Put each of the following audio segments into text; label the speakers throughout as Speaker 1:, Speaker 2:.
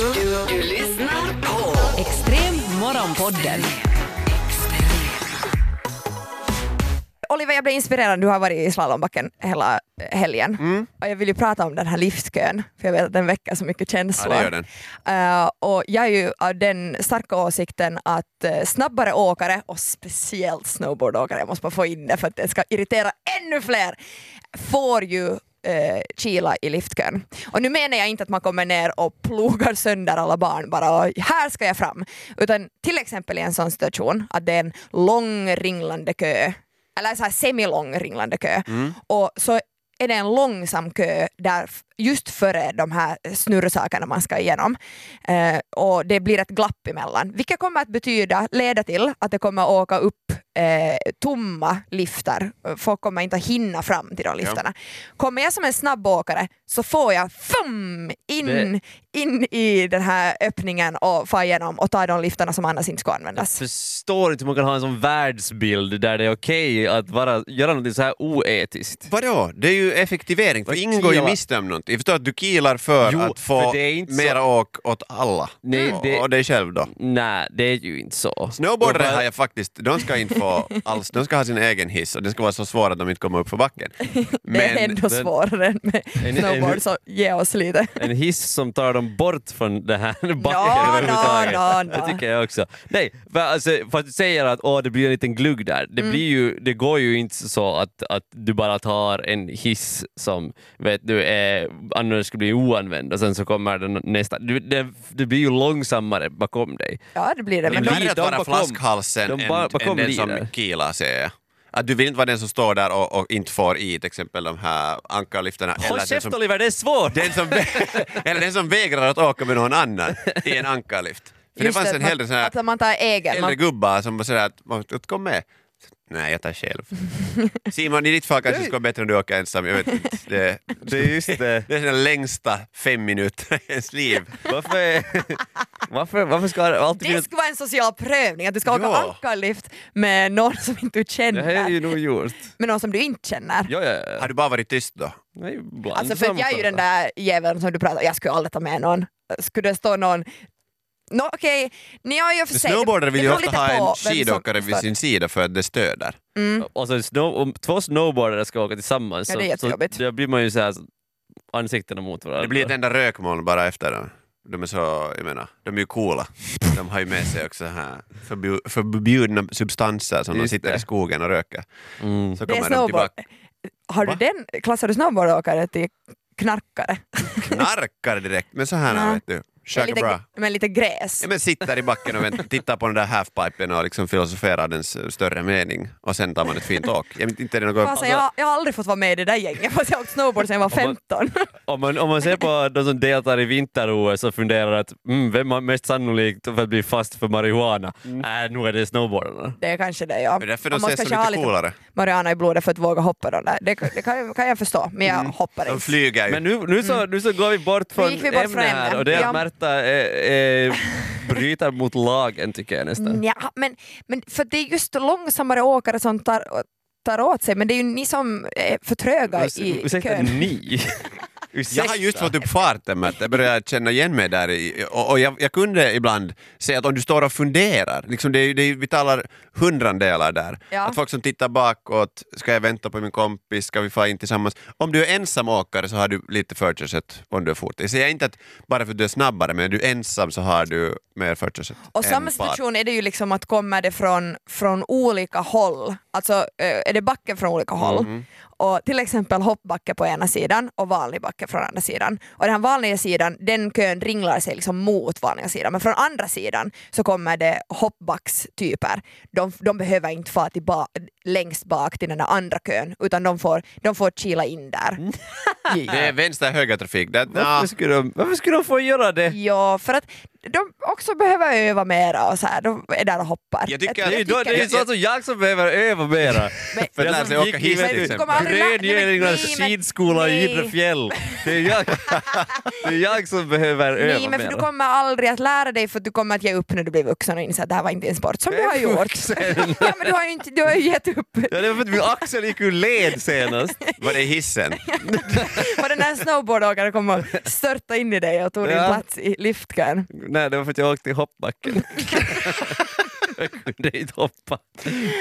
Speaker 1: Du lyssnar på
Speaker 2: Extrem morgonpodden.
Speaker 3: Oliver, jag blev inspirerad. Du har varit i slalombacken hela helgen.
Speaker 4: Mm.
Speaker 3: Och jag vill ju prata om den här livskön, för jag vet att den väcker så mycket känslor.
Speaker 4: Ja, det gör den.
Speaker 3: Eh, och jag är ju av den starka åsikten att eh, snabbare åkare, och speciellt snowboardåkare, jag måste bara få in det för att det ska irritera ännu fler, får ju eh, kila i liftkön. Och nu menar jag inte att man kommer ner och plogar sönder alla barn bara och här ska jag fram. Utan till exempel i en sån situation att det är en lång ringlande kö eller så här semilång ringlande kö. Och så är det en långsam kö där f- just före de här snurrsakerna man ska igenom. Eh, och det blir ett glapp emellan, vilket kommer att betyda, leda till att det kommer att åka upp eh, tomma liftar. Folk kommer inte att hinna fram till de liftarna. Kommer jag som en snabbåkare så får jag fum, in, in i den här öppningen och far igenom och tar de liftarna som annars inte ska användas.
Speaker 5: Förstår inte hur man kan ha en sån världsbild där det är okej att bara göra något så här oetiskt.
Speaker 4: Vadå? Det är ju effektivering, för
Speaker 5: Vad
Speaker 4: ingen går ju
Speaker 5: kilar?
Speaker 4: miste om något. Jag förstår att du kilar för
Speaker 5: Jo,
Speaker 4: att få
Speaker 5: för det är inte så-
Speaker 4: mera åk åt alla.
Speaker 5: Nej,
Speaker 4: Och-
Speaker 5: det- Mm.
Speaker 4: Och dig själv då.
Speaker 5: Nej, det är ju inte så.
Speaker 4: Snowboardare
Speaker 5: Och bara-
Speaker 4: har jag faktiskt, de ska inte få alls, de ska ha sin egen hiss och den ska vara så svår att de inte kommer upp för backen.
Speaker 3: Det är
Speaker 4: Men,
Speaker 3: ändå svårare än med
Speaker 5: en-
Speaker 3: snowboard,
Speaker 5: en-
Speaker 3: så ge oss lite.
Speaker 5: En hiss som tar dem bort från det här backen
Speaker 3: no, no, no.
Speaker 5: Det tycker jag också. Nej, för, alltså, för att du säger att åh, det blir en liten glugg där. Det, blir ju, det går ju inte så att, att du bara tar en hiss som vet du, är, annars skulle bli oanvänd och sen så kommer den nästa. Du, det, det blir ju långsammare bakom dig.
Speaker 3: Ja, det blir det.
Speaker 4: det är
Speaker 3: Men
Speaker 5: blir-
Speaker 4: värre att
Speaker 5: de
Speaker 4: vara
Speaker 5: bakom-
Speaker 4: flaskhalsen
Speaker 5: de
Speaker 4: än,
Speaker 5: ba- bakom
Speaker 4: än den
Speaker 5: lider.
Speaker 4: som kilar säger jag. Att du vill inte vara den som står där och, och inte får i till exempel de här ankarliftarna.
Speaker 5: Håll
Speaker 4: eller den
Speaker 5: käft
Speaker 4: som,
Speaker 5: Oliver, det är svårt!
Speaker 4: den som, eller den som vägrar att åka med någon annan i en ankarlift. För det
Speaker 3: just
Speaker 4: fanns en hel del
Speaker 3: att,
Speaker 4: sådana här
Speaker 3: att man tar egen.
Speaker 4: äldre
Speaker 3: Man,
Speaker 4: gubbar som var sådär att man att kom med. Nej, jag tar själv. Simon, i ditt fall kanske det skulle vara bättre om du åker ensam. Jag vet inte. Det,
Speaker 5: Det är just det.
Speaker 4: det är den längsta fem minuter i ens liv.
Speaker 5: Varför, varför, varför ska det alltid bli
Speaker 3: det ska vara en social prövning, att du ska åka
Speaker 4: Ja.
Speaker 3: ankarlift med någon som inte du
Speaker 5: Det här är
Speaker 3: känner.
Speaker 5: ju nog gjort.
Speaker 3: Med någon som du inte känner.
Speaker 5: Ja, ja, ja.
Speaker 4: Har du bara varit tyst då?
Speaker 5: Nej, ibland
Speaker 3: Alltså för att jag är ju
Speaker 5: samtalar.
Speaker 3: den där jäveln som du pratar jag skulle aldrig ta med någon. Skulle det stå någon No, Okej, ni har ju för sig...
Speaker 4: Snowboardare vill
Speaker 3: det
Speaker 4: ju ofta
Speaker 3: beror lite
Speaker 4: ha
Speaker 3: på
Speaker 4: en
Speaker 3: vem som- Mm.
Speaker 4: skidåkare vid sin sida för att det stöder.
Speaker 5: Alltså, snow, om två snowboardare ska åka tillsammans
Speaker 3: Ja, det är
Speaker 5: så,
Speaker 3: jättejobbigt.
Speaker 5: så då blir man ju så här så- ansiktena mot varandra.
Speaker 4: Det blir ett enda rökmoln bara efter dem. De är så, jag menar, de är ju coola. De har ju med sig också här förbu- förbjudna substanser som de
Speaker 5: Just
Speaker 4: sitter
Speaker 5: det.
Speaker 4: i skogen och röker.
Speaker 5: Mm.
Speaker 4: Så
Speaker 3: Det är
Speaker 4: kommer de
Speaker 3: snowboard.
Speaker 4: tillbaka.
Speaker 3: Har du
Speaker 4: Va?
Speaker 3: den, klassar du snowboardåkare till knarkare?
Speaker 4: Knarkar direkt, men så här
Speaker 3: Ja.
Speaker 4: ja. vet du.
Speaker 3: Med
Speaker 4: Käka bra.
Speaker 3: lite, med lite gräs?
Speaker 4: Ja, men sitt där i backen och vänta, titta på den där halfpipen och liksom filosofera dens eh, större mening och sen tar man ett fint åk. Jag vet inte är det något...
Speaker 3: Fasen, jag, jag har aldrig fått vara med i det där gänget fast jag har åkt snowboard sedan jag var
Speaker 5: Om man-
Speaker 3: 15.
Speaker 5: Om, man, om man ser på de som deltar i vinter-OS och funderar att mm, vem har mest sannolikt för att bli fast för marijuana?
Speaker 3: Mm.
Speaker 5: Äh, nu är det snowboardarna.
Speaker 3: Det är kanske det ja.
Speaker 4: Det är därför
Speaker 3: Man
Speaker 4: de
Speaker 3: måste
Speaker 4: ses som
Speaker 3: kanske ha
Speaker 4: lite coolare.
Speaker 3: marijuana i blodet för att våga hoppa de där. Det, det kan, kan jag förstå men jag hoppar
Speaker 4: Mm. De
Speaker 3: inte.
Speaker 4: flyger ju.
Speaker 5: Men nu, nu, så, nu så går vi bort från
Speaker 3: Mm. gick vi bort
Speaker 5: ämnet
Speaker 3: från
Speaker 5: här
Speaker 3: ämnet.
Speaker 5: och det är
Speaker 3: Ja.
Speaker 5: att Märta eh, eh, bryter mot lagen tycker jag nästan.
Speaker 3: Nja, men, men för det är just långsammare åkare som tar, tar åt sig men det är ju ni som är för tröga
Speaker 5: Urs-
Speaker 3: i
Speaker 5: Ursäkta,
Speaker 3: kön.
Speaker 5: ni?
Speaker 4: Jag har just fått upp farten Märta, jag börjar känna igen mig där i, och, och jag, jag kunde ibland säga att om du står och funderar, liksom det, är ju- det, är ju- vi talar hundrandelar där,
Speaker 3: Ja.
Speaker 4: att folk som tittar bakåt, ska jag vänta på min kompis, ska vi fara in tillsammans? Om du är ensam åkare så har du lite förkörsrätt om du är fort. Jag säger inte att bara för att du är snabbare, men är du ensam så har du mer förkörsrätt
Speaker 3: Och
Speaker 4: än
Speaker 3: samma
Speaker 4: par.
Speaker 3: situation är det ju liksom att kommer det från, från olika håll, alltså eh, är det backe från olika håll,
Speaker 5: Mm.
Speaker 3: och till exempel hoppbacke på ena sidan och vanlig backe från andra sidan. Och den här vanliga sidan, den kön ringlar sig liksom mot vanliga sidan, men från andra sidan så kommer det hoppbackstyper. De, de behöver inte fara till ba- längst bak till den där andra kön, utan de får, de får kila in
Speaker 5: Mm.
Speaker 3: där.
Speaker 4: Det är vänster höger trafik. Det,
Speaker 5: Varför, skulle de, varför skulle de få göra det?
Speaker 3: Ja, för att de också behöver öva mera och så här, de är där och hoppar.
Speaker 4: Jag tycker
Speaker 5: Det är ju då- det är ju
Speaker 4: jag- jag-
Speaker 5: sånt som jag som behöver öva mera.
Speaker 4: För att lära sig åka hiss
Speaker 3: Men
Speaker 4: till
Speaker 3: du
Speaker 4: exempel.
Speaker 3: kommer aldrig lä- Nej, men-
Speaker 5: Gröngölingarnas
Speaker 3: nej, men-
Speaker 5: skidskola i
Speaker 3: nej.
Speaker 5: Idre fjäll. Det är jag, det är jag som behöver öva
Speaker 3: Nej men för du
Speaker 5: mera.
Speaker 3: kommer aldrig att lära dig för du kommer att ge upp när du blir vuxen och inse att det här var inte en sport som du har gjort. ja men du har ju, inte, du har ju gett upp.
Speaker 5: Ja, det var för att min axel gick ur led senast.
Speaker 4: Var det i hissen?
Speaker 3: Och den här snowboardåkaren kommer att störta in i dig och tog
Speaker 5: Ja.
Speaker 3: din plats i liftkön.
Speaker 5: Nej, det var för att jag åkte i hoppbacken. jag kunde inte hoppa,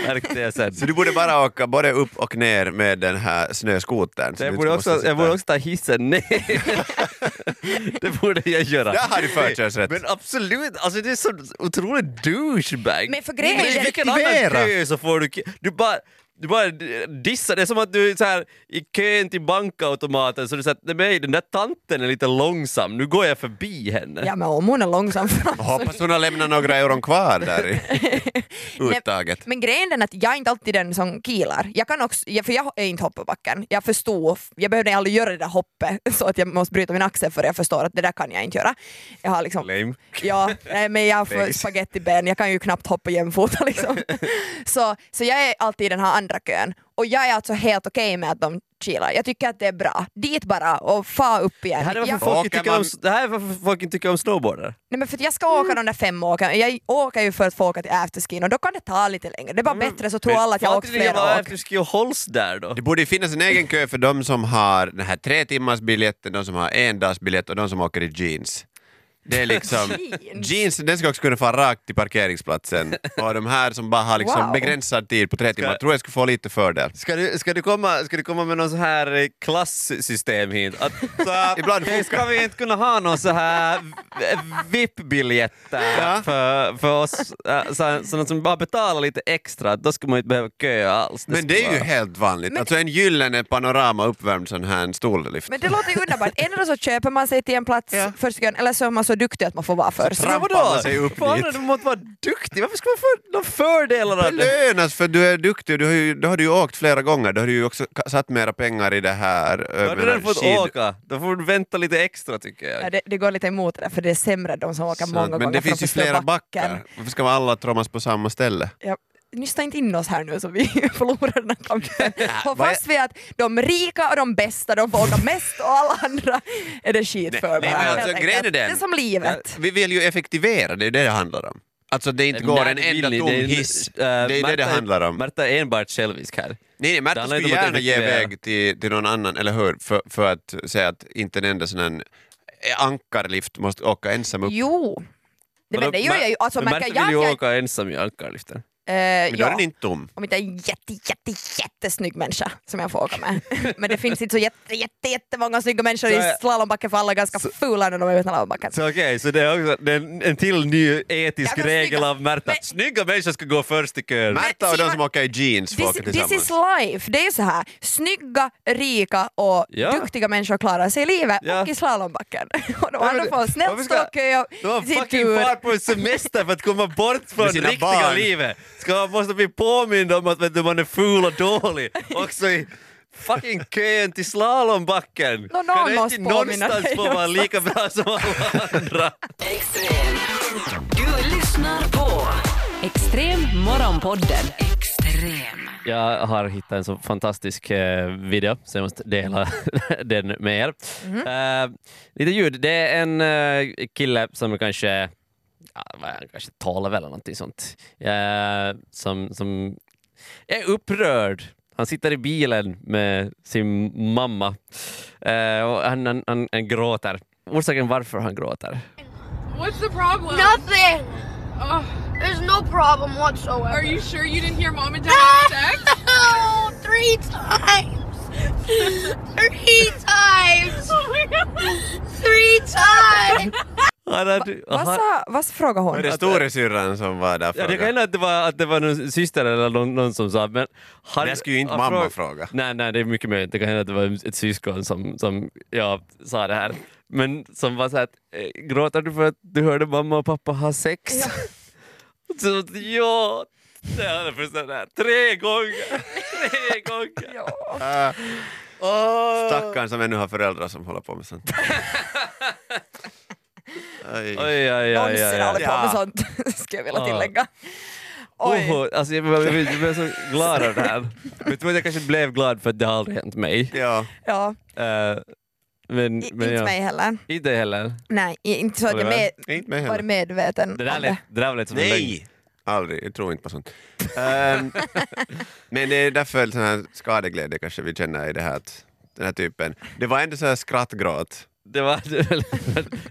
Speaker 5: märkte jag sen.
Speaker 4: Så du borde bara åka både upp och ner med den här snöskotern. så
Speaker 5: Jag
Speaker 4: du
Speaker 5: borde,
Speaker 4: inte måste
Speaker 5: också,
Speaker 4: sitta-
Speaker 5: jag borde också ta hissen ner. det borde jag göra.
Speaker 4: Där har du förkörsrätt.
Speaker 5: Men absolut, alltså det är så otroligt douchebag.
Speaker 3: Men för grejen är
Speaker 5: I
Speaker 3: den-
Speaker 5: vilken annan
Speaker 4: Aktivera.
Speaker 5: kö så får du... k- Du bara, du bara dissar, det är som att du är så här, i kön till bankautomaten så du säger nej den där tanten är lite långsam, nu går jag förbi henne.
Speaker 3: Ja men om hon är långsam fram så
Speaker 4: Hoppas hon har lämnat några euron kvar där i uttaget.
Speaker 3: Men grejen är att jag är inte alltid den som kilar. Jag kan också, jag- för jag är inte hoppbacken. Jag förstår, jag behövde aldrig göra det där hoppet så att jag måste bryta min axel för jag förstår att det där kan jag inte göra. Jag har liksom,
Speaker 4: Lame.
Speaker 3: ja, nej, men jag får
Speaker 4: Face.
Speaker 3: spagettiben, jag kan ju knappt hoppa jämfota liksom. så, så jag är alltid i den här andra kön och jag är alltså helt okej med att de kilar. Jag tycker att det är bra. Dit bara och fa upp igen.
Speaker 5: Det här är varför
Speaker 3: Jag-
Speaker 5: folk inte
Speaker 4: Åker
Speaker 5: tycker om,
Speaker 4: man-
Speaker 5: det här är varför folk inte tycker om snowboardare.
Speaker 3: Nej men för att jag ska åka de där fem åken, jag åker ju för att få åka till afterskin och då kan det ta lite längre. Det är bara
Speaker 5: Mm.
Speaker 3: bättre så tror alla att jag har åkt flera åk.
Speaker 5: Du ska ju hålls där då.
Speaker 4: Det borde ju finnas en egen kö för de som har den här tre timmars biljetten, de som har en dags biljett och de som åker i jeans. Det är liksom,
Speaker 3: Jeans?
Speaker 4: jeans, den ska också kunna fara rakt till parkeringsplatsen. Och de här som bara har liksom
Speaker 3: Wow.
Speaker 4: begränsad tid på tre timmar tror jag skulle få lite fördel.
Speaker 5: Ska du, ska, du komma, ska du komma med någon så här eh, klassystem hit? Att, så här,
Speaker 4: Ibland
Speaker 5: "Hej, ska vi inte kunna ha någon så här v- VIP-biljetter
Speaker 4: Ja.
Speaker 5: för, för oss eh, så, så någon som bara betalar lite extra? Då ska man inte behöva köa alls.
Speaker 4: Men det är ju
Speaker 5: skulle vara-
Speaker 4: helt vanligt.
Speaker 3: Men-
Speaker 4: Alltså en gyllene panorama uppvärmd sån här stollift.
Speaker 3: Men det låter ju underbart. Ändå så köper man sig till en plats första gången eller så är man så duktig att man får vara först.
Speaker 4: trampar
Speaker 5: Vadå?
Speaker 4: man sig upp
Speaker 5: Fan,
Speaker 4: dit.
Speaker 5: Du måste vara duktig. Varför ska man få några fördelar av det?
Speaker 4: Belönas för du är duktig, du har ju, då har du ju åkt flera gånger, då har du ju också ka- satt mera pengar i det här.
Speaker 5: Då har du redan fått åka. Då får du vänta lite extra tycker jag.
Speaker 3: Ja, det, det går lite emot det där, för det är sämre de som åker många gånger
Speaker 4: Men det finns ju
Speaker 3: framför
Speaker 4: flera
Speaker 3: backen.
Speaker 4: backar. Varför ska man alla trommas på samma ställe?
Speaker 3: Ja, nysta inte in oss här nu så vi förlorar den här kampen. Håll
Speaker 4: vad är-
Speaker 3: fast vid att de rika och de bästa de får åka mest och alla andra är det skit för.
Speaker 4: nej,
Speaker 3: bara,
Speaker 4: men
Speaker 3: helt
Speaker 4: alltså,
Speaker 3: enkelt.
Speaker 4: grejen är
Speaker 3: det
Speaker 4: den-
Speaker 3: är som livet.
Speaker 4: Vi vill ju effektivera, det är det det handlar om. Alltså det inte
Speaker 5: Nej,
Speaker 4: går en
Speaker 5: det vill
Speaker 4: enda
Speaker 5: ni.
Speaker 4: tom
Speaker 5: Det är en-
Speaker 4: hiss.
Speaker 5: eh,
Speaker 4: Det är det det
Speaker 5: Märta är-
Speaker 4: handlar om. Nej,
Speaker 5: Märta är enbart självisk här.
Speaker 4: nej,
Speaker 5: det
Speaker 4: Märta
Speaker 5: handlar
Speaker 4: skulle
Speaker 5: inte om att
Speaker 4: gärna ge
Speaker 5: effektivera.
Speaker 4: väg till, till någon annan, eller hur? För, för att säga att inte en enda sån här eh, ankarlift måste åka ensam upp.
Speaker 3: Jo. Nej, men det gör jag ju. Alltså,
Speaker 5: men
Speaker 3: märker
Speaker 5: Märta vill
Speaker 3: jag,
Speaker 5: ju
Speaker 3: jag,
Speaker 5: åka ensam i ankarliften.
Speaker 3: eh,
Speaker 4: Men då är
Speaker 3: ja.
Speaker 4: den inte tom.
Speaker 3: Om inte jag är en jätte, jätte, jättesnygg människa som jag får åka med. Men det finns inte så jätte, jätte, jättemånga snygga människor
Speaker 5: Så
Speaker 3: i
Speaker 5: är-
Speaker 3: slalombacken för alla är ganska fula när de är utan slalombacken.
Speaker 5: Så okej, så det är också det är en, en till ny etisk
Speaker 3: Ja, men
Speaker 5: regel
Speaker 3: snygga-
Speaker 5: av Märta.
Speaker 3: men-
Speaker 5: Snygga människor ska gå först i kön.
Speaker 4: Märta och de
Speaker 3: Simon,
Speaker 4: som åker i jeans får
Speaker 3: This,
Speaker 4: åka
Speaker 3: this is
Speaker 4: tillsammans.
Speaker 3: life, det är ju så här. Snygga, rika och
Speaker 5: Ja.
Speaker 3: duktiga människor klarar sig i livet
Speaker 5: Ja.
Speaker 3: och i slalombacken. Och de
Speaker 5: men
Speaker 3: andra
Speaker 5: det-
Speaker 3: får
Speaker 5: varför
Speaker 3: snällt
Speaker 5: ska-
Speaker 3: stå och köa
Speaker 5: De har
Speaker 3: sin
Speaker 5: fucking
Speaker 3: tur.
Speaker 5: far på en semester för att komma bort från
Speaker 4: Med sina
Speaker 5: riktiga
Speaker 4: barn.
Speaker 5: livet. Ska man måste bli påmind om att vet du, man är ful och dålig. Också i fucking kön till slalombacken.
Speaker 3: någon
Speaker 5: kan du
Speaker 3: måste
Speaker 5: inte
Speaker 3: påminna
Speaker 5: någonstans
Speaker 3: dig
Speaker 5: få vara lika bra som alla andra?
Speaker 2: Extrem. Du lyssnar på Extrem Morgonpodden. Extrem.
Speaker 5: Jag har hittat en så fantastisk eh, video så jag måste dela den med er.
Speaker 3: Mhm.
Speaker 5: Eh, lite ljud. Det är en eh, kille som är kanske, ja, vad är han, kanske 12 eller någonting sånt. Eh, som, som är upprörd. Han sitter i bilen med sin mamma eh, och han, han, han, han gråter. Orsaken varför han gråter.
Speaker 1: What's the problem?
Speaker 6: Nothing.
Speaker 1: Ugh,
Speaker 6: There's no problem whatsoever.
Speaker 1: are you sure you didn't hear mom and dad have sex?
Speaker 6: No, three times. three times.
Speaker 1: Oh
Speaker 6: Three times.
Speaker 5: Han hade,
Speaker 3: Vad,
Speaker 5: han-
Speaker 3: sa, vad frågade hon?
Speaker 4: Var det storasyrran som var där
Speaker 5: Ja, det kan
Speaker 4: frågan?
Speaker 5: hända att det var, att det var någon syster eller någon, någon som sa men... Han,
Speaker 4: Det skulle ju inte
Speaker 5: han
Speaker 4: mamma
Speaker 5: fråg-
Speaker 4: fråga.
Speaker 5: Nej, nej, det är mycket möjligt. Det kan hända att det var ett syskon som, som jag sa det här. Men som var så här att, eh, gråter du för att du hörde mamma och pappa ha sex? Ja. så, att, ja. Det hade förstått det här. Tre gånger! Tre gånger!
Speaker 4: Ah,
Speaker 5: Åh.
Speaker 4: Stackarn som ännu har föräldrar som håller på med sånt.
Speaker 5: Oj,
Speaker 4: Oj.
Speaker 5: oj, oj,
Speaker 3: Någonsin
Speaker 5: oj, oj.
Speaker 3: hållit på med
Speaker 4: Ja.
Speaker 3: sånt, skulle jag vilja
Speaker 5: Ja.
Speaker 3: tillägga. Oj.
Speaker 5: Oho, alltså jag blev- jag blev jag blev så glad av det här. Vet du vad, jag kanske blev glad för att det har aldrig hänt mig.
Speaker 4: Ja.
Speaker 3: Ja,
Speaker 5: Eh, men,
Speaker 3: i,
Speaker 5: men
Speaker 3: inte
Speaker 5: ja.
Speaker 3: mig heller.
Speaker 5: Inte heller.
Speaker 3: Nej, i- inte så att jag
Speaker 5: Oliver?
Speaker 3: med,
Speaker 4: Inte mig
Speaker 3: var
Speaker 4: heller.
Speaker 3: medveten
Speaker 5: Det där
Speaker 3: om
Speaker 5: lät,
Speaker 3: det.
Speaker 5: det där lät som en lögn.
Speaker 4: Nej! Aldrig, jag tror inte på sånt. Ehm, men det är därför en sån här skadeglädje kanske vi känner i det här, att den här typen. Det var ändå så här skrattgråt.
Speaker 5: Det var,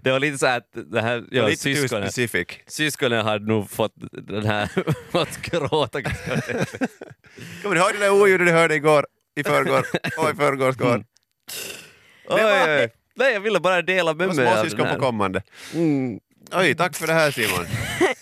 Speaker 5: det var lite så här att det här, ja,
Speaker 4: Lite too
Speaker 5: syskonen,
Speaker 4: specific.
Speaker 5: syskonen hade nog fått den här, fått gråta ganska ordentligt.
Speaker 4: Kommer du ihåg det där oljudet du hörde igår? I förrgår? Och i
Speaker 5: Mm.
Speaker 4: förrgår.
Speaker 5: Oj,
Speaker 4: var-
Speaker 5: oj, oj. Nej, jag ville bara dela med Mm.
Speaker 4: Och
Speaker 5: mig av den
Speaker 4: småsyskon
Speaker 5: här.
Speaker 4: på kommande. Oj, tack för det här Simon.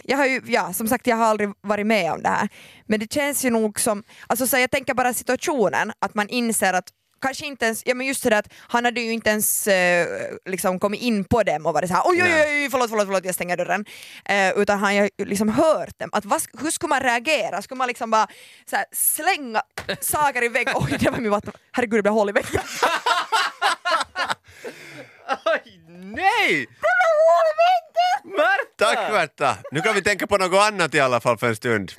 Speaker 3: Jag har ju, ja, som sagt, jag har aldrig varit med om det här. Men det känns ju nog som, alltså så jag tänker bara situationen, att man inser att Kanske inte ens, ja men just det där att han hade ju inte ens eh, liksom kommit in på dem och varit såhär oj oj oj, oj förlåt, förlåt förlåt jag stänger dörren. Eh, utan han har ju liksom hört dem. Att vad, sk- hur skulle man reagera? Skulle man liksom bara så här, slänga saker i väggen? Oj det var min vatten, herregud det blev hål i väggen.
Speaker 5: Oj, nej! Märta!
Speaker 4: Tack Märta! Nu kan vi tänka på något annat i alla fall för en stund.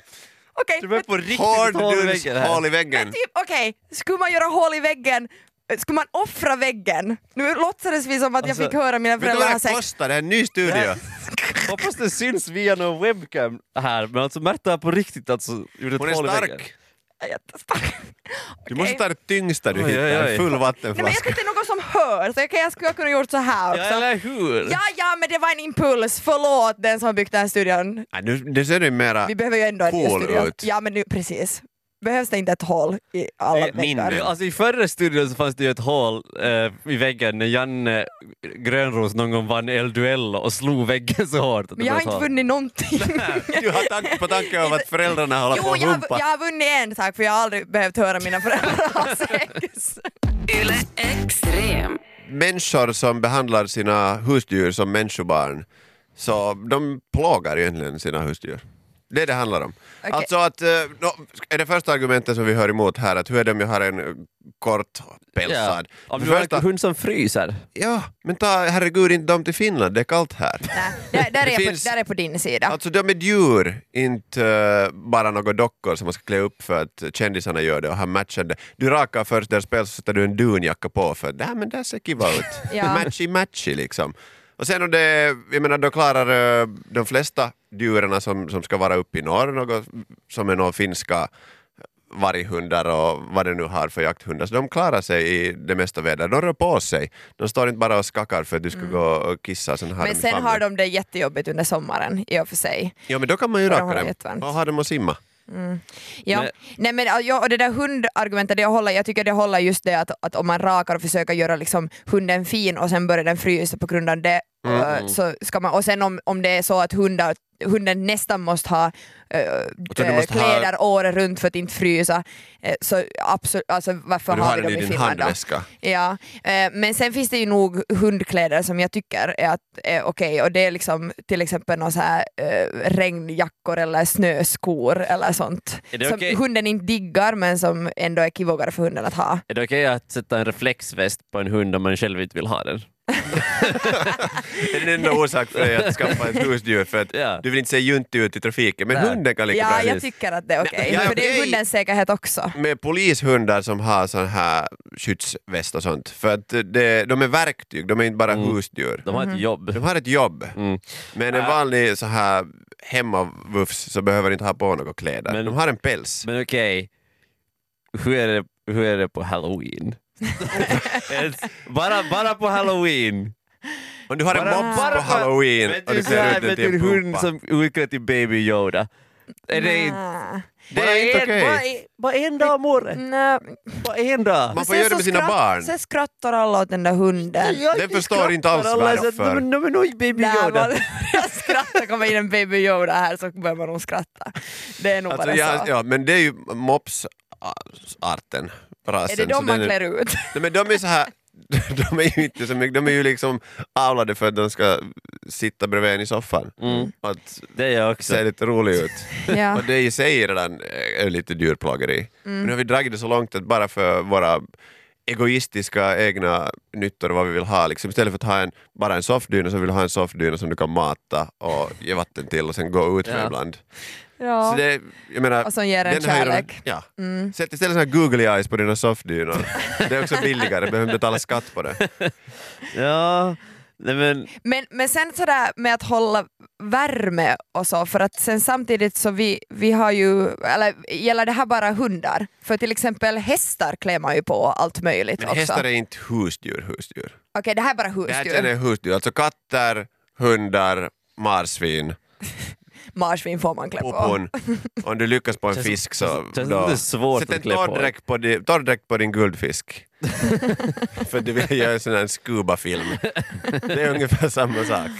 Speaker 3: Okej,
Speaker 5: Du är på riktigt
Speaker 4: Hård
Speaker 5: hål i
Speaker 4: duns,
Speaker 5: väggen här.
Speaker 4: hål i väggen.
Speaker 3: Men typ okej, skulle man göra hål i väggen, eh, skulle man offra väggen? Nu låtsades vi som att
Speaker 5: Alltså,
Speaker 3: jag fick höra mina
Speaker 4: Vet du vad
Speaker 3: föräldrar ha
Speaker 4: det här
Speaker 3: sex.
Speaker 4: kostar? Det här är en ny studio.
Speaker 5: Hoppas det syns via någon webcam här, men alltså Märta har på riktigt alltså gjort ett
Speaker 4: Hon är
Speaker 5: hål i väggen.
Speaker 4: stark.
Speaker 3: Jag är jättestark.
Speaker 4: Du måste
Speaker 3: Okej.
Speaker 4: ta det tyngsta du
Speaker 5: Oj, oj,
Speaker 4: hittar,
Speaker 5: oj.
Speaker 4: en full
Speaker 3: Nej men jag
Speaker 4: vattenflaska.
Speaker 3: tänkte något som hör, så jag, kan, jag skulle ha kunnat gjort så här
Speaker 5: Ja,
Speaker 3: också.
Speaker 5: eller hur?
Speaker 3: Ja, ja, men det var en impuls. Förlåt den som har byggt den här studion.
Speaker 4: Nej, nu, nu ser du mera...
Speaker 3: Vi behöver ju ändå en ny
Speaker 4: Hål
Speaker 3: studio.
Speaker 4: ut.
Speaker 3: Ja, men nu, precis. Behövs det inte ett hål i alla
Speaker 5: Eh,
Speaker 4: mindre.
Speaker 3: väggar?
Speaker 5: Alltså i förra studion så fanns det ju ett hål eh, i väggen när Janne Grönros någon gång vann elduell och slog väggen så hårt. att det
Speaker 3: Men jag har
Speaker 5: blev ett
Speaker 3: inte
Speaker 5: hål.
Speaker 3: vunnit någonting.
Speaker 4: Du har tanke på tanken om att föräldrarna håller på
Speaker 3: Jo,
Speaker 4: och
Speaker 3: jag, har-
Speaker 4: rumpa.
Speaker 3: jag har vunnit en sak för jag har aldrig behövt höra mina föräldrar ha sex.
Speaker 2: Yle Extrem.
Speaker 4: Människor som behandlar sina husdjur som människobarn, så de plågar egentligen sina husdjur. Det är det handlar om.
Speaker 3: Okej.
Speaker 4: Alltså att, eh, nå, är det första argumentet som vi hör emot här, att hur är det om jag har en eh, kort pälsad?
Speaker 5: Ja. Om
Speaker 4: För
Speaker 5: du har
Speaker 4: första-
Speaker 5: en hund som fryser.
Speaker 4: Ja, men ta herregud inte dem till Finland, det är kallt här.
Speaker 3: Nej, där, där,
Speaker 4: Det
Speaker 3: är jag
Speaker 4: finns-
Speaker 3: på, där är jag på din sida.
Speaker 4: Alltså de är djur, inte eh, bara några dockor som man ska klä upp för att kändisarna gör det och har matchande. Du rakar först deras päls och sätter du en dunjacka på för att "Nej, men det ser kiva ut.
Speaker 3: Ja.
Speaker 4: Matchy matchy liksom. Och sen om det, är- jag menar då klarar eh, de flesta djuren som, som ska vara uppe i norr, något, som är några finska varghundar och vad det nu har för jakthundar, så de klarar sig i det mesta väder. De rör på sig. De står inte bara och skakar för att du ska gå och kissa. Sen har
Speaker 3: Mm. Men
Speaker 4: de i
Speaker 3: sen
Speaker 4: famnen.
Speaker 3: har de det jättejobbigt under sommaren i och för sig.
Speaker 4: Ja men då kan man ju
Speaker 3: Bara
Speaker 4: raka
Speaker 3: hålla
Speaker 4: dem
Speaker 3: jättevarmt.
Speaker 4: och ha dem och simma.
Speaker 3: Ja.
Speaker 5: Men-
Speaker 3: Nej, men, ja, ja, och det där hundargumentet, det håller, jag tycker det håller just det att, att om man rakar och försöker göra liksom, hunden fin och sen börjar den frysa på grund av det.
Speaker 4: Mm.
Speaker 3: eh, så ska man, och sen om, om det är så att hundar, hunden nästan måste ha eh,
Speaker 4: du
Speaker 3: eh,
Speaker 4: måste ha-
Speaker 3: kläder året runt för att inte frysa, eh, så absolut, alltså, varför
Speaker 4: Men du
Speaker 3: har
Speaker 4: har
Speaker 3: vi
Speaker 4: den
Speaker 3: dem
Speaker 4: i
Speaker 3: i
Speaker 4: din
Speaker 3: Finland då?
Speaker 4: handväska.
Speaker 3: Ja, eh, men sen finns det ju nog hundkläder som jag tycker är, att, är okej och det är liksom till exempel någon så här, eh, regnjackor eller snöskor eller sånt.
Speaker 5: Är det
Speaker 3: som
Speaker 5: okej?
Speaker 3: hunden inte diggar men som ändå är kivogare för hunden att ha.
Speaker 5: Är det okej att sätta en reflexväst på en hund om man själv inte vill ha den?
Speaker 4: Det är den enda orsaken för dig att skaffa ett husdjur för att
Speaker 5: Ja.
Speaker 4: du vill inte se juntig ut i trafiken. Men
Speaker 5: Nej.
Speaker 4: hunden kan lika
Speaker 3: Ja,
Speaker 4: bra
Speaker 3: jag tycker att det är okej.
Speaker 4: ja,
Speaker 3: för det är
Speaker 4: okej.
Speaker 3: ju hundens säkerhet också.
Speaker 4: med polishundar som har sån här skyddsväst och sånt. För att det, de är verktyg, de är inte bara husdjur.
Speaker 5: De har
Speaker 3: Mhm.
Speaker 5: ett jobb.
Speaker 4: Mm. De har Mm. ett jobb. Men en vanlig så här hemmavufs så behöver inte ha på några kläder.
Speaker 5: Men-
Speaker 4: de har en päls.
Speaker 5: Men okej, hur, är det- hur är det på halloween? Ens- bara, bara på halloween!
Speaker 4: Om du har en
Speaker 5: Bara-
Speaker 4: mops
Speaker 5: bara-
Speaker 4: på halloween
Speaker 5: Vet
Speaker 4: och
Speaker 5: du,
Speaker 4: du
Speaker 5: så här,
Speaker 4: klär ut den
Speaker 5: vet
Speaker 4: till
Speaker 5: du,
Speaker 4: en
Speaker 5: en hund
Speaker 4: pumpa.
Speaker 5: som utklädd till Baby Yoda. Är det
Speaker 3: Mm.
Speaker 5: inte...
Speaker 3: Nä.
Speaker 4: Det är inte okej.
Speaker 5: Bara en dag om året.
Speaker 3: Nä.
Speaker 5: Bara en dag.
Speaker 4: Man får
Speaker 3: Sen
Speaker 4: göra det
Speaker 3: så
Speaker 4: med sina
Speaker 3: skratt-
Speaker 4: barn.
Speaker 3: Sen skrattar alla åt den där hunden.
Speaker 4: Det förstår inte alls varför.
Speaker 5: De, de är nog Baby
Speaker 3: När
Speaker 5: Yoda.
Speaker 3: man jag skrattar kommer in en baby Yoda här så börjar man nog skratta. Det är nog
Speaker 4: Alltså,
Speaker 3: bara
Speaker 4: ja,
Speaker 3: så.
Speaker 4: ja, men det är ju mopsarten, rasen.
Speaker 3: Är det
Speaker 4: så
Speaker 3: de man
Speaker 4: den är-
Speaker 3: klär ut?
Speaker 4: Nej, men de är så här... De är ju inte så mycket, de är ju liksom avlade för att de ska sitta bredvid en i soffan och att
Speaker 5: Det är jag också.
Speaker 4: se lite rolig ut.
Speaker 3: Mm. Ja. Mm.
Speaker 4: Och det eh, i sig redan är lite djurplågeri. Men nu har vi dragit det så långt att bara för våra egoistiska egna nyttor vad vi vill ha. Liksom istället för att ha en, bara en soffdyna så vill du ha en soffdyna som du kan mata och ge vatten till och sen gå ut med
Speaker 5: Ja.
Speaker 4: ibland.
Speaker 3: Ja.
Speaker 4: Så det, Mm. jag menar,
Speaker 3: Och som ger en
Speaker 4: den här-
Speaker 3: kärlek.
Speaker 4: ja. Sätt istället såna här googly eyes på dina soffdynor. Det är också billigare, behöver inte betala skatt på det.
Speaker 5: Ja, nej men...
Speaker 3: Men, men sen sådär med att hålla värme och så, för att sen samtidigt så vi, vi har ju, eller gäller det här bara hundar? För till exempel hästar klär man ju på allt möjligt
Speaker 4: Men
Speaker 3: också.
Speaker 4: hästar är inte husdjur, husdjur.
Speaker 3: Okej, det här är bara
Speaker 4: Det här
Speaker 3: husdjur.
Speaker 4: känner jag husdjur, alltså katter, hundar, marsvin,
Speaker 3: Marsvin får man klä på.
Speaker 4: popon. Om du lyckas på en fisk så...
Speaker 5: känns- känns inte svårt
Speaker 4: sätt
Speaker 5: att
Speaker 4: en
Speaker 5: klä på.
Speaker 4: torrdräkt på, din- torrdräkt på din guldfisk. För du vill göra en sån här scuba-film. Det är ungefär samma sak.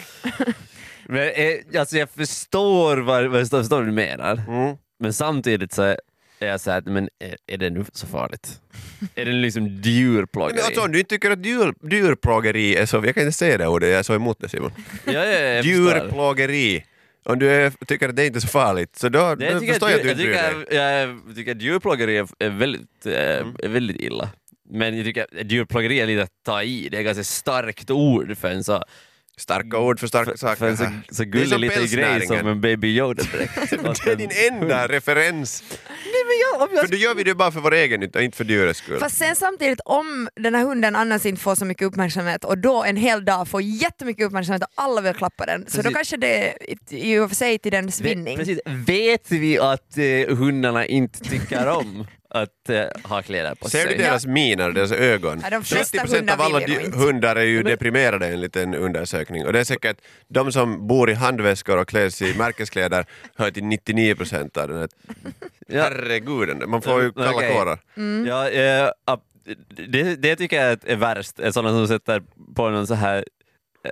Speaker 5: men eh, alltså jag förstår vad, vad, jag förstår vad du menar,
Speaker 4: Mm.
Speaker 5: men samtidigt så är jag såhär, men är, är det nu så farligt? är det liksom djurplågeri?
Speaker 4: Men alltså, om du inte tycker att djur, djurplågeri är så... Jag kan inte säga det ordet, jag är så emot det Simon.
Speaker 5: ja, ja, jag förstår.
Speaker 4: Djurplågeri. Om du är, tycker att det inte är så farligt, så då,
Speaker 5: Nej,
Speaker 4: då
Speaker 5: jag tycker,
Speaker 4: förstår jag
Speaker 5: att,
Speaker 4: att du
Speaker 5: jag,
Speaker 4: inte bryr dig. Mm.
Speaker 5: tycker, jag, jag tycker att djurplågeri är, är, väldigt, eh, är väldigt illa. Men jag tycker att djurplågeri är lite att ta i, det är ett ganska starkt ord för en så,
Speaker 4: Starka ord för starka
Speaker 5: för,
Speaker 4: saker.
Speaker 5: för en så,
Speaker 4: här.
Speaker 5: så
Speaker 4: Det är som
Speaker 5: gullig liten grej som
Speaker 4: pälsnäringen.
Speaker 5: en baby Yoda-dräkt.
Speaker 4: Det är din enda referens. För då gör vi det bara för vår egen nytta, inte för djurets skull.
Speaker 3: Fast sen samtidigt om den här hunden annars inte får så mycket uppmärksamhet och då en hel dag får jättemycket uppmärksamhet och alla vill klappa den, så då
Speaker 5: Precis.
Speaker 3: kanske det är i och för sig till den
Speaker 5: Ve-
Speaker 3: svinning.
Speaker 5: Precis. Vet vi att eh, hundarna inte tycker om att eh, ha kläder på sig?
Speaker 4: Ser du deras miner, deras ögon?
Speaker 3: Ja, de flesta
Speaker 4: 70% av
Speaker 3: hundar
Speaker 4: alla
Speaker 3: vill ju
Speaker 4: dju-
Speaker 3: inte.
Speaker 4: hundar är ju deprimerade enligt en undersökning. Och det är säkert de som bor i handväskor och kläs i märkeskläder hör till 99% av den här...
Speaker 5: Ja.
Speaker 4: Herregud, man får ju kalla
Speaker 5: Okej.
Speaker 4: kårar.
Speaker 5: Ja, eh, ap- det, det tycker jag är värst, är sådana som sätter på någon så här eh,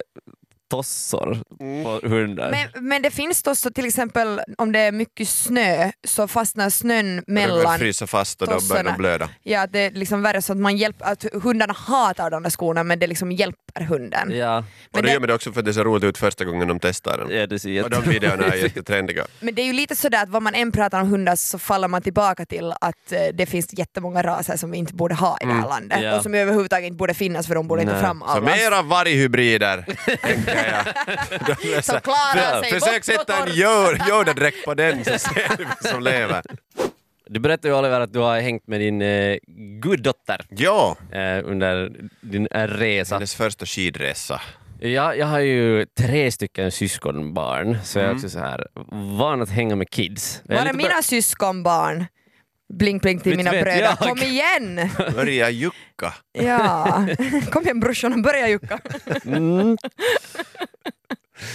Speaker 5: tossor
Speaker 4: Mm.
Speaker 5: på hundar.
Speaker 3: Men, men det finns då så till exempel om det är mycket snö så fastnar snön
Speaker 4: De börjar
Speaker 3: mellan
Speaker 4: frysa fast och då börjar de
Speaker 3: tossarna.
Speaker 4: blöda.
Speaker 3: Ja, att det är liksom värre så att, man hjälper, att hundarna hatar de där skorna men det liksom hjälper hunden.
Speaker 5: Ja,
Speaker 4: Och
Speaker 3: Men,
Speaker 4: då gör
Speaker 3: det,
Speaker 4: man det också för att det ser roligt ut första gången de testar den.
Speaker 5: ja, det ser
Speaker 4: Och de
Speaker 5: jätte...
Speaker 4: videorna är jättetrendiga.
Speaker 3: men det är ju lite sådär att vad man än pratar om hundar så faller man tillbaka till att eh, det finns jättemånga raser som vi inte borde ha i det här landet
Speaker 5: Ja.
Speaker 3: och som överhuvudtaget inte borde finnas för de borde
Speaker 5: Nej.
Speaker 3: inte fram
Speaker 4: Mm, Så
Speaker 3: alla.
Speaker 4: mera varghybrider, tänker jag. De är så
Speaker 3: Som
Speaker 4: här,
Speaker 3: klarar sig
Speaker 4: Försök
Speaker 3: gott och
Speaker 4: sätta en
Speaker 3: torrt.
Speaker 4: Yoda- Yoda-dräkt på den så ser du vem som lever.
Speaker 5: Du berättade ju Oliver att du har hängt med din eh, guddotter
Speaker 4: Ja,
Speaker 5: eh, under din eh, resa.
Speaker 4: hennes första skidresa.
Speaker 5: Ja, jag har ju tre stycken syskonbarn, så jag är också så här van att hänga med kids. Jag är
Speaker 3: Mm. Var är
Speaker 5: lite
Speaker 3: mina syskonbarn? Blink blink till
Speaker 5: Inte
Speaker 3: mina
Speaker 5: vet
Speaker 3: bröder,
Speaker 5: jag.
Speaker 3: kom igen!
Speaker 4: Börja jucka.
Speaker 3: Ja. Kom igen brorsorna, börja jucka.
Speaker 5: Mm.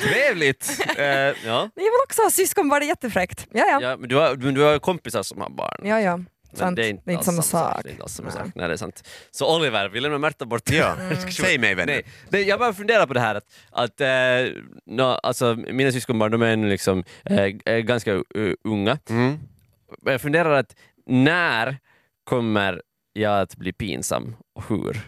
Speaker 5: Trevligt! Eh, ja.
Speaker 3: Jag vill också ha syskon, var det jättefräckt. Ja, ja.
Speaker 5: Ja, men, du har, men du har ju kompisar som har barn.
Speaker 3: ja, ja.
Speaker 5: Men
Speaker 3: Sant. Det är inte,
Speaker 5: alls
Speaker 3: samma sak.
Speaker 5: Det är inte alls samma sak. Nej, det är sant. Så Oliver, vi lämnar Märta bort.
Speaker 4: Ja. Säg mig vänner.
Speaker 5: Mm. Nej, nej, jag bara funderar på det här att, att eh, nå, alltså, mina syskonbarn de är ännu liksom, eh, eh, ganska eh, unga.
Speaker 4: Mm.
Speaker 5: Men jag funderar att när kommer jag att bli pinsam och hur?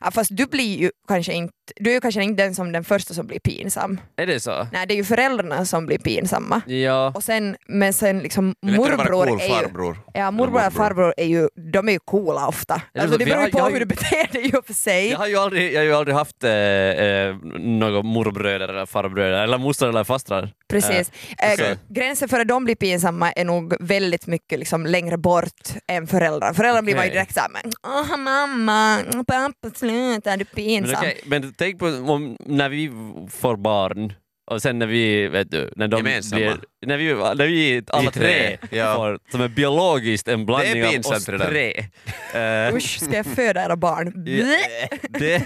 Speaker 3: Ja, fast du blir ju kanske inte, du är ju kanske inte den som den första som blir pinsam.
Speaker 5: Är det så?
Speaker 3: Nej, det är ju föräldrarna som blir pinsamma.
Speaker 5: Ja.
Speaker 3: Och sen, men sen liksom
Speaker 4: Det är lättare att vara
Speaker 3: morbror
Speaker 4: cool
Speaker 3: är ju...
Speaker 4: farbror.
Speaker 3: Ja, morbror
Speaker 4: Eller
Speaker 3: och farbror är ju, de är ju coola ofta.
Speaker 5: det
Speaker 3: Alltså,
Speaker 5: så?
Speaker 3: det
Speaker 5: Vi
Speaker 3: beror
Speaker 5: har-
Speaker 3: ju på
Speaker 5: jag har ju-
Speaker 3: hur du beter dig i och för sig.
Speaker 5: Jag har ju aldrig, jag har ju aldrig haft eh, eh, några morbröder eller farbröder eller mostrar eller fastrar.
Speaker 3: Precis.
Speaker 5: Eh,
Speaker 3: Eh,
Speaker 5: så-
Speaker 3: gränsen för att de blir pinsamma är nog väldigt mycket liksom längre bort än föräldrar. Föräldrar blir man ju
Speaker 5: Okej.
Speaker 3: direkt såhär, åh mamma, pappa sluta, du är
Speaker 5: Men,
Speaker 3: pinsam.
Speaker 5: okej, men tänk på om, när vi får barn och sen när vi, vet du, när de
Speaker 4: Gemensamma.
Speaker 5: blir, när vi, när vi alla tre,
Speaker 4: tre, ja.
Speaker 5: får, som är biologiskt en blandning av
Speaker 4: pinsamt
Speaker 5: oss
Speaker 4: det där.
Speaker 5: tre. Eh,
Speaker 3: Usch, ska jag föda era barn?
Speaker 5: ja, det,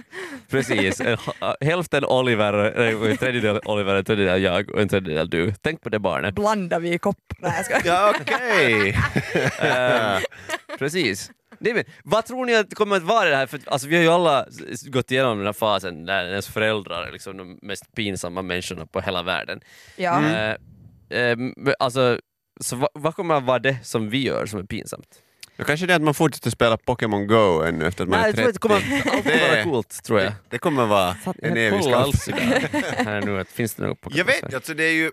Speaker 5: precis, En ha- hälften Oliver, eh, en tredjedel Oliver, en tredjedel jag och en tredjedel du. Tänk på det barnet.
Speaker 3: Blandar vi i kopp? Nej, jag skojar.
Speaker 4: Ja, okej.
Speaker 5: Eh, Precis. Nej, men, vad tror ni att det kommer att vara det här? För, alltså, vi har ju alla s- s- gått igenom den här fasen där ens föräldrar är liksom de mest pinsamma människorna på hela världen.
Speaker 3: Ja.
Speaker 4: Mm.
Speaker 5: Eh, eh, men, alltså, så va, vad kommer att vara det som vi gör som är pinsamt?
Speaker 4: Då kanske det är att man fortsätter spela Pokémon Go ännu efter att man
Speaker 5: Nej,
Speaker 4: är
Speaker 5: jag tror
Speaker 4: 30.
Speaker 5: att det kommer att alltid vara coolt, tror jag.
Speaker 4: Det kommer vara en evig
Speaker 5: Kolla
Speaker 4: kamp.
Speaker 5: alls idag. här nu, att finns det något på
Speaker 4: Jag vet, alltså det är ju...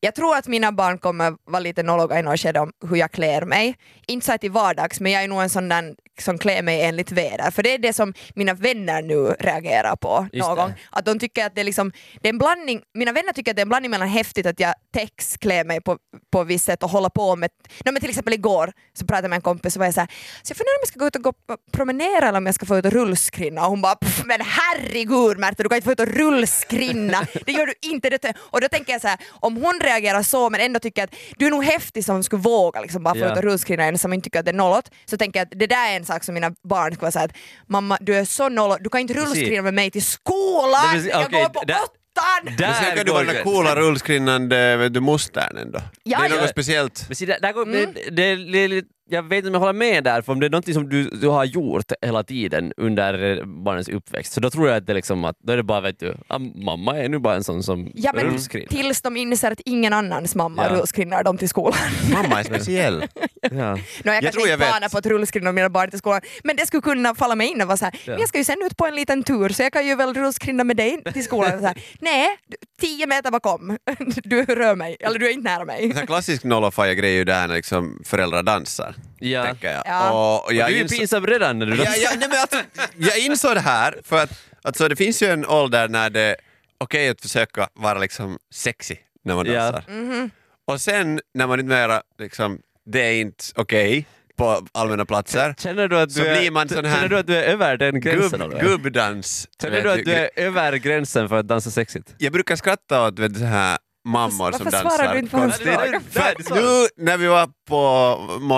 Speaker 3: Jag tror att mina barn kommer vara lite nologa i något skede om hur jag klär mig. Inte så här till vardags, men jag är nog en sån där som klär mig enligt väder. För det är det som mina vänner nu reagerar på
Speaker 5: Just
Speaker 3: någon
Speaker 5: det.
Speaker 3: gång. Att de tycker att det är liksom, det är en blandning, mina vänner tycker att det är en blandning mellan häftigt att jag text klär mig på, på visst sätt och hålla på med, no, men till exempel igår så pratade jag med en kompis och var jag så här, så jag funderar om jag ska gå ut och gå på promenera eller om jag ska få ut och rullskrinna och hon bara "Pff, men herregud Märta du kan inte få ut och rullskrinna, det gör du inte. Det tö-" och då tänker jag så här, om hon reagerar så men ändå tycker att du är nog häftig som skulle våga liksom bara få
Speaker 5: Ja.
Speaker 3: ut och rullskrinna en som inte tycker att det är nollot, så tänker jag att det där är en sak som mina barn skulle vara såhär att mamma du är så nollot, du kan inte rullskrinna med mig till skolan,
Speaker 5: Nej, men-
Speaker 3: jag
Speaker 5: okej,
Speaker 3: går på
Speaker 5: där-
Speaker 3: åttan!
Speaker 5: Där
Speaker 4: Men sen kan du
Speaker 5: går
Speaker 4: vara den
Speaker 5: gränsen.
Speaker 4: coola rullskrinnande vet du, mostern ändå.
Speaker 3: Ja,
Speaker 4: det är
Speaker 3: ja.
Speaker 4: något speciellt.
Speaker 5: Men se, där, där går,
Speaker 3: Mm.
Speaker 5: det, det, det, det, jag vet inte om jag håller med där, för om det är något som du, du har gjort hela tiden under eh, barnens uppväxt, så då tror jag att det, liksom, att, då är det bara vet du, ah, mamma är nu bara en sån som
Speaker 3: Ja men
Speaker 5: rullskridor.
Speaker 3: tills de inser att ingen annans mamma
Speaker 5: Ja.
Speaker 3: rullskrinnar dem till skolan.
Speaker 4: Mamma är speciell.
Speaker 5: Ja.
Speaker 3: Nå, jag,
Speaker 4: Jag
Speaker 3: kanske
Speaker 4: tror jag
Speaker 3: inte
Speaker 4: vet.
Speaker 3: planerar på att rullskrinna mina barn till skolan, men det skulle kunna falla mig in och vara så här, men jag ska ju sen ut på en liten tur så jag kan ju väl rullskrinna med dig till skolan. Så här, Nej, du- tio meter bakom, du rör mig, eller du är inte nära mig.
Speaker 4: En sån klassisk nollofaja-grej är ju det här när liksom föräldrar dansar.
Speaker 5: Ja.
Speaker 4: Tänker jag.
Speaker 3: Ja.
Speaker 4: Och, och
Speaker 5: Du
Speaker 4: jag
Speaker 5: är ju
Speaker 4: insåg-
Speaker 5: pinsam redan när du
Speaker 4: Ja, ja, nej, men alltså, jag insåg det här, för att alltså, det finns ju en ålder när det är okej att försöka vara liksom sexy när man
Speaker 5: Ja.
Speaker 4: dansar.
Speaker 3: Mhm.
Speaker 4: Och sen när man inte mera, liksom, det är inte okej på allmänna platser.
Speaker 5: Känner du att
Speaker 4: Så
Speaker 5: du, är,
Speaker 4: blir man sån här-
Speaker 5: känner du att du är över den gränsen?
Speaker 4: Gubb,
Speaker 5: eller?
Speaker 4: gubbdans.
Speaker 5: Känner
Speaker 4: vet
Speaker 5: du att du är över gränsen för att dansa sexigt?
Speaker 4: Jag brukar skratta åt vet, du, så här mammor
Speaker 3: Varför
Speaker 4: som
Speaker 3: svarar
Speaker 4: dansar
Speaker 3: du inte på hans
Speaker 4: konstigt.
Speaker 3: fråga?
Speaker 4: För att nu när vi var på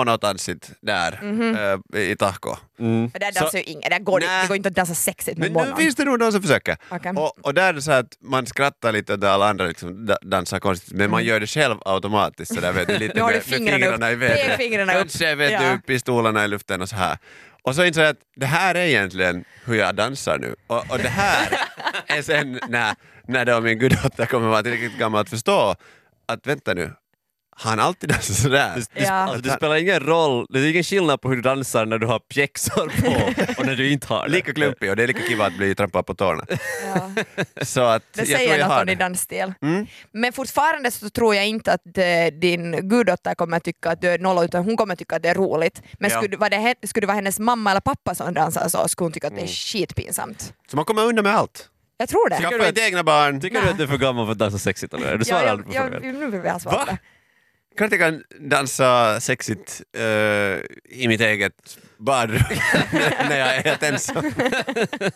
Speaker 4: monotansit där
Speaker 3: Mhm.
Speaker 4: eh, i Tahko.
Speaker 3: Men där dansar ju ingen, där går det,
Speaker 4: Nej.
Speaker 3: det går inte att dansa sexigt med
Speaker 4: Men nu
Speaker 3: morgonen.
Speaker 4: finns det nog de som försöker.
Speaker 3: Okej.
Speaker 4: Och, och där är det så här att man skrattar lite åt alla andra liksom da- dansar konstigt men
Speaker 3: Mm.
Speaker 4: man gör det själv automatiskt sådär vet du, lite
Speaker 3: Nu har du
Speaker 4: med, med
Speaker 3: fingrarna
Speaker 4: fingrarna
Speaker 3: upp.
Speaker 4: i vädret.
Speaker 3: Pek fingrarna upp.
Speaker 4: Kanske vet
Speaker 3: Ja.
Speaker 4: du pistolerna i luften och så här. Och så inser jag att det här är egentligen hur jag dansar nu och, och det här är sen när, när då min guddotter kommer vara tillräckligt gammal att förstå att vänta nu, han alltid dansar sådär.
Speaker 3: Ja.
Speaker 5: Alltså, det spelar ingen roll, det är ingen skillnad på hur du dansar när du har pjäxor på och när du inte har det.
Speaker 4: Lika klumpig och det är lika kiva att bli trampad på tårna.
Speaker 3: Ja.
Speaker 4: Så att
Speaker 3: Det
Speaker 4: jag Mm. tror
Speaker 3: säger
Speaker 4: jag
Speaker 3: något
Speaker 4: har
Speaker 3: om din
Speaker 4: det.
Speaker 3: dansstil. Men fortfarande så tror jag inte att eh, din guddotter kommer att tycka att du är nolla utan hon kommer att tycka att det är roligt. Men
Speaker 4: Ja.
Speaker 3: skulle, det- var det, he- skulle det vara hennes mamma eller pappa som dansar så skulle hon tycka
Speaker 4: Mm.
Speaker 3: att det är skitpinsamt.
Speaker 4: Så man kommer undan med allt.
Speaker 3: Jag tror det.
Speaker 4: Skaffa inte egna barn.
Speaker 5: Tycker du att du är för gammal för att dansa sexigt eller? Är Du
Speaker 3: Ja,
Speaker 5: svarar aldrig
Speaker 3: jag,
Speaker 5: på
Speaker 3: jag,
Speaker 5: frågan.
Speaker 3: nu vill vi ha svar på
Speaker 4: Va?
Speaker 3: det.
Speaker 4: Kanske jag kan dansa sexigt eh, i mitt eget badrum när jag är helt ensam.
Speaker 2: Extrem.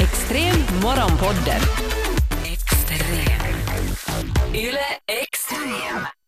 Speaker 2: Extrem morgonpodden. Extrem. Yle Extrem.